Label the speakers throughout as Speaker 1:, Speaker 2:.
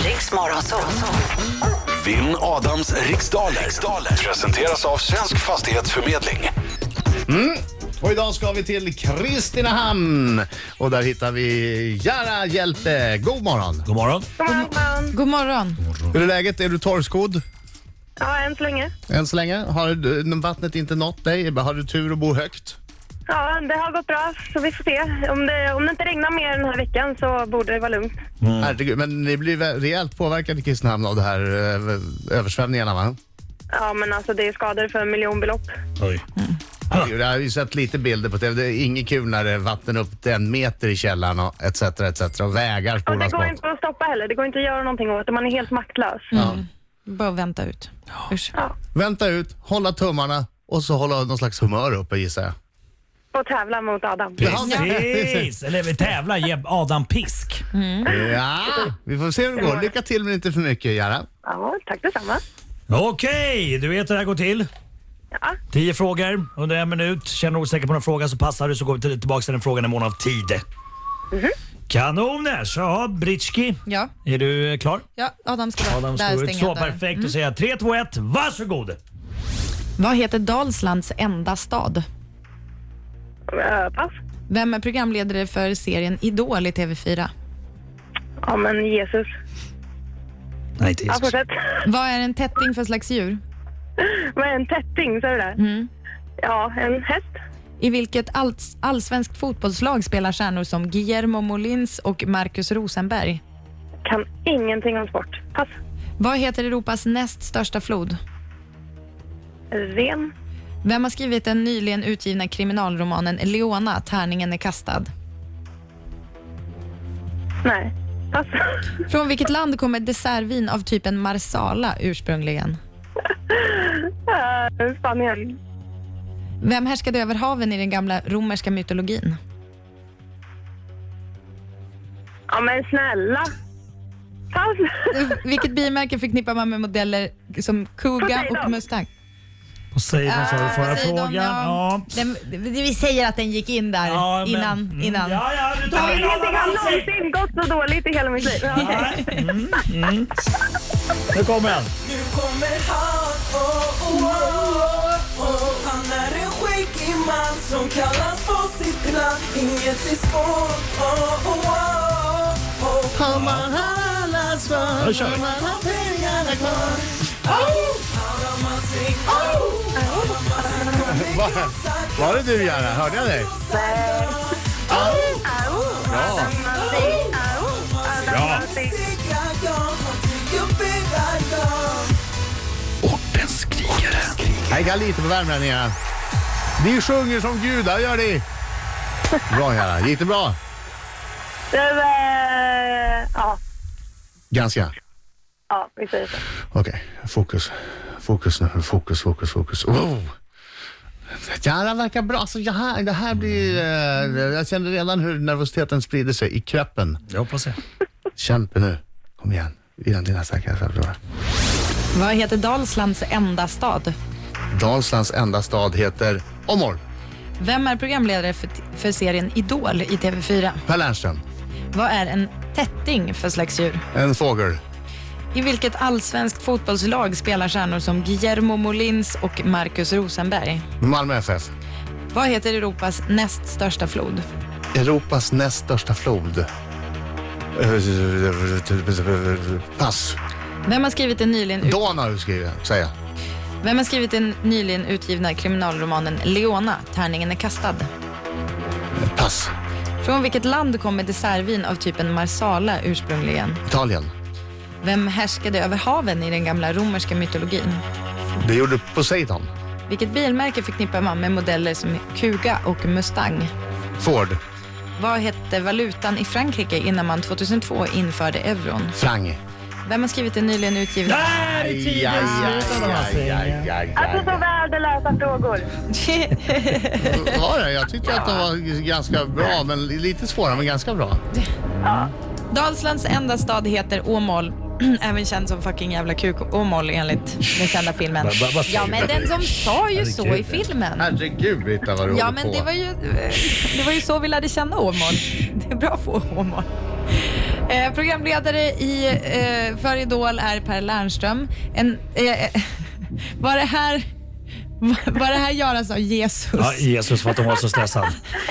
Speaker 1: Riks Morgonzoo.
Speaker 2: Vinn Adams riksdaler. riksdaler. Presenteras av Svensk Fastighetsförmedling.
Speaker 3: Och idag ska vi till Kristinehamn och där hittar vi Jara Hjälte. God morgon!
Speaker 4: God morgon.
Speaker 5: God morgon.
Speaker 3: Hur är läget? Är du torrskodd
Speaker 6: Ja, än så länge.
Speaker 3: än så länge? Har du- vattnet inte nått dig? Har du tur och bor högt?
Speaker 6: Ja, det har gått bra, så vi får se. Om det, om det inte regnar mer den här veckan så borde det vara lugnt.
Speaker 3: Herregud, men ni blir väl rejält påverkade i Kristinehamn av de här eh, översvämningarna va?
Speaker 6: Ja, men alltså det är skador för miljonbelopp.
Speaker 4: Oj.
Speaker 3: Herregud, Jag har ju sett lite bilder på tv. Det är inget kul när det är vatten upp till en meter i källaren och etc. etc. och vägar
Speaker 6: Och det
Speaker 3: spolas
Speaker 6: går
Speaker 3: bort.
Speaker 6: inte att stoppa heller. Det går inte att göra någonting åt det. Man är helt maktlös.
Speaker 5: Bara vänta ut. Usch.
Speaker 3: Vänta ut, hålla tummarna och så hålla någon slags humör uppe gissar jag.
Speaker 6: Och tävla mot Adam.
Speaker 4: Precis! Eller vi tävlar, ge Adam pisk.
Speaker 3: Ja, vi får se hur det går. Lycka till men inte för mycket Jara.
Speaker 6: Ja, tack detsamma.
Speaker 4: Okej, du vet hur det här går till.
Speaker 6: Ja.
Speaker 4: Tio frågor under en minut. Känner du osäker på någon fråga så passar du så går vi till- tillbaka till den frågan i mån av tid. Kanoner! Så, Britski.
Speaker 5: Ja.
Speaker 4: Är du eh, klar?
Speaker 5: ja, Adam ska
Speaker 4: Adam slår ut. Så, perfekt. Då säger jag 3, 2, 1, varsågod!
Speaker 5: Vad heter Dalslands enda stad?
Speaker 6: Äh, pass.
Speaker 5: Vem är programledare för serien Idol i TV4?
Speaker 6: Ja, men Jesus.
Speaker 4: Nej, inte
Speaker 6: Ja, fortsätt.
Speaker 5: Vad är en tätting för slags djur?
Speaker 6: Vad är en tätting? Sa du det? Mm. Ja, en häst.
Speaker 5: I vilket alls, allsvenskt fotbollslag spelar stjärnor som Guillermo Molins och Marcus Rosenberg?
Speaker 6: Kan ingenting om sport. Pass.
Speaker 5: Vad heter Europas näst största flod?
Speaker 6: Ren.
Speaker 5: Vem har skrivit den nyligen utgivna kriminalromanen Leona, tärningen är kastad?
Speaker 6: Nej. Pass.
Speaker 5: Från vilket land kommer dessertvin av typen marsala ursprungligen?
Speaker 6: Äh, Spanien.
Speaker 5: Vem härskade över haven i den gamla romerska mytologin?
Speaker 6: Ja, men snälla. Pass.
Speaker 5: Vilket bimärke förknippar man med modeller som Kuga
Speaker 6: Poseidon.
Speaker 5: och Mustang? Ah,
Speaker 4: Poseidon
Speaker 5: Eh,
Speaker 4: sa du förra frågan. Ja.
Speaker 5: Den, vi säger att den gick in där
Speaker 4: Ja, men-
Speaker 5: innan.
Speaker 4: Mm.
Speaker 5: innan.
Speaker 4: Ja, ja, nu tar vi in
Speaker 6: Ingenting har
Speaker 4: Adam Alsing.
Speaker 6: någonsin gått så dåligt i hela mitt liv. Ja.
Speaker 4: Nej. Mm, mm. Nu kommer han.
Speaker 7: Nu kommer han, oh, oh, oh, oh. Han är en skäggig man som kallas på sitt namn Inget är svårt, oh, oh, oh, oh.
Speaker 3: Har man alla svar,
Speaker 4: Då kör vi.
Speaker 3: har man alla pengarna kvar.
Speaker 7: Adam Alsing, oh, Adam Alsing kommer
Speaker 3: Va-
Speaker 7: krossa,
Speaker 3: Var det du Jara? Hörde jag dig?
Speaker 4: Bra.
Speaker 7: segra jag Han tycker bära jag
Speaker 2: Ortens skrikare.
Speaker 3: Jag kan lite på värmlänningarna. Ni sjunger som gudar gör ni. Bra Jara, gick det bra?
Speaker 6: Du, eh, ja,
Speaker 3: Ganska.
Speaker 6: ja, vi säger så.
Speaker 3: Okej, fokus. Fokus nu. Fokus, fokus, fokus. Wow! Jara verkar bra. Alltså, jag här, det här blir... eh, jag känner redan hur nervositeten sprider sig i kroppen.
Speaker 4: Jag hoppas det.
Speaker 3: Kämpa nu. Kom igen. Innan dina starka förlorar.
Speaker 5: Vad heter Dalslands enda stad?
Speaker 3: Dalslands enda stad heter Åmål.
Speaker 5: Vem är programledare för, för serien Idol i TV4?
Speaker 3: Per Lernström.
Speaker 5: Vad är en tätting för slags djur?
Speaker 3: En fågel.
Speaker 5: I vilket allsvenskt fotbollslag spelar stjärnor som Guillermo Molins och Marcus Rosenberg?
Speaker 3: Malmö FF.
Speaker 5: Vad heter Europas näst största flod?
Speaker 3: Europas näst största flod. Pass.
Speaker 5: Vem har skrivit den nyligen, ut-
Speaker 3: Donau skriver jag, säger jag.
Speaker 5: Vem har skrivit den nyligen utgivna kriminalromanen Leona, tärningen är kastad?
Speaker 3: Pass.
Speaker 5: Från vilket land kommer dessertvin av typen marsala ursprungligen?
Speaker 3: Italien.
Speaker 5: Vem härskade över haven i den gamla romerska mytologin?
Speaker 3: Det gjorde Poseidon.
Speaker 5: Vilket bilmärke förknippar man med modeller som Kuga och Mustang?
Speaker 3: Ford.
Speaker 5: Vad hette valutan i Frankrike innan man 2002 införde euron?
Speaker 3: Frang.
Speaker 5: Vem har skrivit den nyligen utgivna...
Speaker 4: Där är tiden slut Adam Alsing.
Speaker 6: Alltså så värdelösa frågor.
Speaker 3: Var det? Jag tyckte att det var ganska bra, men lite svårare, men ganska bra.
Speaker 5: Dalslands enda stad heter Åmål. Även känd som fucking jävla kuk Åmål enligt den kända filmen.
Speaker 4: Vad- vad- vad säger
Speaker 5: Ja men den som sa ju så i filmen.
Speaker 3: Herregud, Britta, vad du
Speaker 5: Ja
Speaker 3: håller
Speaker 5: men
Speaker 3: på.
Speaker 5: det var ju, det var ju så vi lärde känna Åmål. Det är bra att få Åmål. Eh, programledare i, eh, för Idol är Per Lernström. En, eh, eh, var, det här, var, var det här göras av Jesus?
Speaker 4: Ja, Jesus för att hon var så stressad.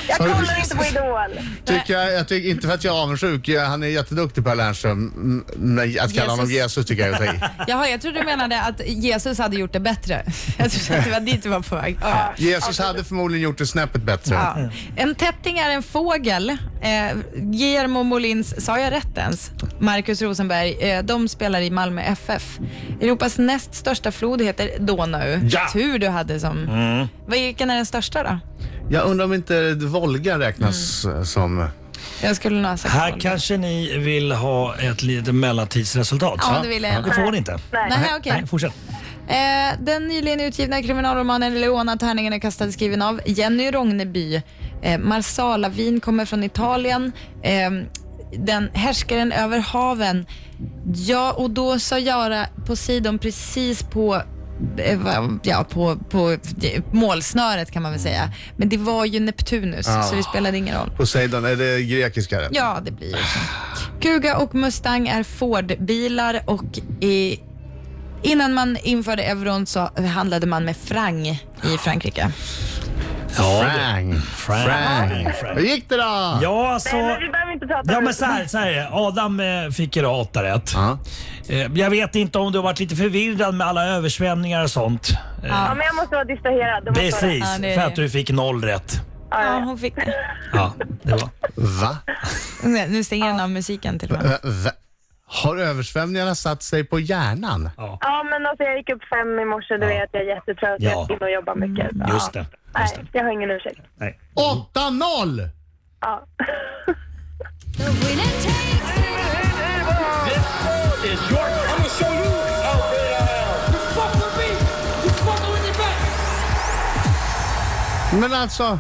Speaker 6: Jag
Speaker 3: Sorry.
Speaker 6: kollar inte på Idol.
Speaker 3: Tycker jag, jag tycker, inte för att jag är avundsjuk, jag- han är jätteduktig Per Lernström. Mm, Men att kalla honom
Speaker 5: Jesus.
Speaker 3: Jesus tycker jag är att ta i.
Speaker 5: Jaha, jag trodde du menade att Jesus hade gjort det bättre. Jag trodde att det var dit du var på väg. Ja, ja.
Speaker 3: Jesus hade förmodligen gjort det snäppet bättre.
Speaker 5: Ja. En tätting är en fågel. Eh, Guillermo Molins, sa jag rätt ens? Marcus Rosenberg, eh, de spelar i Malmö FF. Europas näst största flod heter Donau.
Speaker 3: Ja.
Speaker 5: Tur du hade som... Vilken är den största då?
Speaker 3: Jag undrar om inte Volga räknas
Speaker 5: Mm.
Speaker 3: eh, som...
Speaker 5: Jag skulle nog ha sagt
Speaker 4: Här
Speaker 5: Volga.
Speaker 4: kanske ni vill ha ett litet mellantidsresultat.
Speaker 5: Ja, det vill jag
Speaker 4: Det
Speaker 5: gärna.
Speaker 4: får ni inte.
Speaker 5: Nej,
Speaker 6: Nej.
Speaker 5: okej.
Speaker 4: Nej, fortsätt.
Speaker 5: Eh, den nyligen utgivna kriminalromanen Leona tärningen är kastad skriven av Jenny Rogneby. Eh, Marsalavin kommer från Italien. Eh, den härskaren över haven. Ja, och då sa Jara Poseidon precis på eh, va- Ja, på, på eh, målsnöret kan man väl säga. Men det var ju Neptunus,
Speaker 3: Ah.
Speaker 5: så det spelade ingen roll.
Speaker 3: Poseidon, är det grekiska? rätt?
Speaker 5: Ja, det blir ju så. Kuga och Mustang är Ford-bilar och i, innan man införde euron så handlade man med franc i Frankrike.
Speaker 4: Ja,
Speaker 3: Frank.
Speaker 4: Frank.
Speaker 3: Frank.
Speaker 4: Frank.
Speaker 3: Hur gick det då?
Speaker 4: Ja, alltså...
Speaker 6: Nej, men vi behöver inte prata
Speaker 4: Ja
Speaker 6: om
Speaker 4: men
Speaker 6: det.
Speaker 4: så här, så här är det. Adam eh, fick idag åtta rätt.
Speaker 3: Ja.
Speaker 4: Eh, Jag vet inte om du har varit lite förvirrad med alla översvämningar och sånt. Eh,
Speaker 6: Ja, men jag måste vara distraherad. Det måste vara det.
Speaker 4: Precis,
Speaker 5: Ja, det är
Speaker 4: för
Speaker 5: det.
Speaker 4: att du fick noll rätt.
Speaker 6: Ja, ja,
Speaker 5: Ja,
Speaker 6: ja.
Speaker 5: hon fick
Speaker 4: Ja, det var.
Speaker 3: Va?
Speaker 5: Nej, Nu stänger den av musiken till och med.
Speaker 3: Eh, va? Har översvämningarna satt sig på hjärnan?
Speaker 6: ja, men alltså jag gick upp fem i morse. Du vet, jag är jättetrött.
Speaker 4: Ja.
Speaker 6: Jag ska in och jobba mycket. Ja.
Speaker 4: Just det. Just det.
Speaker 6: Nej, jag har ingen ursäkt.
Speaker 4: Nej.
Speaker 3: 8-0!
Speaker 6: Ja.
Speaker 3: Men alltså...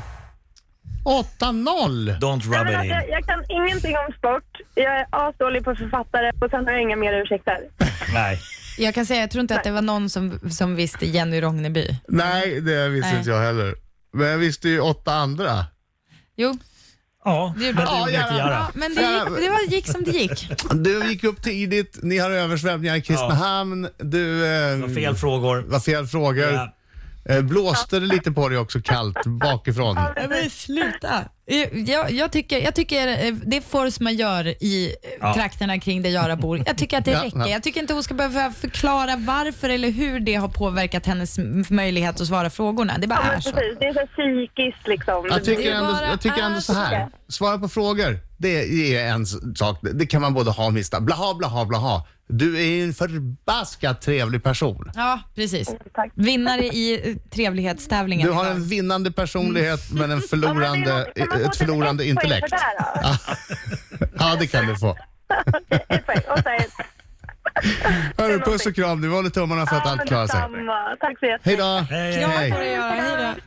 Speaker 3: 8-0!
Speaker 4: Don't
Speaker 6: Nej,
Speaker 4: rub
Speaker 6: men
Speaker 4: it
Speaker 6: alltså,
Speaker 4: in.
Speaker 6: jag, jag kan ingenting om sport. Jag är asdålig på författare och sen har jag inga mer ursäkter.
Speaker 4: Nej.
Speaker 5: Jag kan säga, jag tror inte att det var någon som, som visste Jenny Rogneby.
Speaker 3: Nej, det visste
Speaker 5: Nej.
Speaker 3: inte jag heller. Men jag visste ju åtta andra.
Speaker 5: Jo,
Speaker 4: Ja, men det
Speaker 5: gjorde
Speaker 4: gjorde
Speaker 3: Ja,
Speaker 4: inte
Speaker 5: ja,
Speaker 4: Jara.
Speaker 5: men det gick, det var, gick som det gick.
Speaker 3: Du gick upp tidigt, ni har översvämningar i Kristinehamn. Du... Eh,
Speaker 4: Det var Fel frågor.
Speaker 3: var fel frågor.
Speaker 4: Ja.
Speaker 3: Eh, blåste det lite på dig också kallt bakifrån?
Speaker 5: Men sluta. Jag, jag, tycker, jag tycker eh, det är force man gör i eh,
Speaker 4: Ja.
Speaker 5: trakterna kring där Göra bor. Jag tycker att det
Speaker 3: Ja, ja.
Speaker 5: räcker. Jag tycker inte hon ska behöva förklara varför eller hur det har påverkat hennes m- möjlighet att svara frågorna. Det bara
Speaker 6: Ja,
Speaker 5: är
Speaker 6: men
Speaker 5: så.
Speaker 6: Alltså, precis. Det är så här psykiskt liksom.
Speaker 3: Jag tycker,
Speaker 5: Det
Speaker 3: ändå,
Speaker 5: bara
Speaker 3: jag tycker ändå så här.
Speaker 5: är
Speaker 3: Svara på frågor. Det är en s- sak. Det det kan man både ha och mista. Blaha, blaha, blaha. Du är ju en förbaskat trevlig person.
Speaker 5: Ja, precis.
Speaker 6: Tack.
Speaker 5: Vinnare i eh, trevlighetstävlingen.
Speaker 3: Du har
Speaker 5: idag.
Speaker 3: en vinnande personlighet men en
Speaker 6: Mm. Ja, men det är
Speaker 3: förlorande, ett förlorande
Speaker 6: något- kan man få typ ett poäng för
Speaker 3: intellekt.
Speaker 6: det här, då?
Speaker 3: Ja, det kan du få.
Speaker 6: Okej, ett poäng. Och så här,
Speaker 3: Hörru, puss och kram. Du håller tummarna för att
Speaker 6: ja,
Speaker 3: allt
Speaker 6: men
Speaker 3: klarar sig.
Speaker 6: detsamma. Tack så jättemycket.
Speaker 3: Hej då!
Speaker 4: Hej,
Speaker 5: Kram på dig, Göran. Hej då.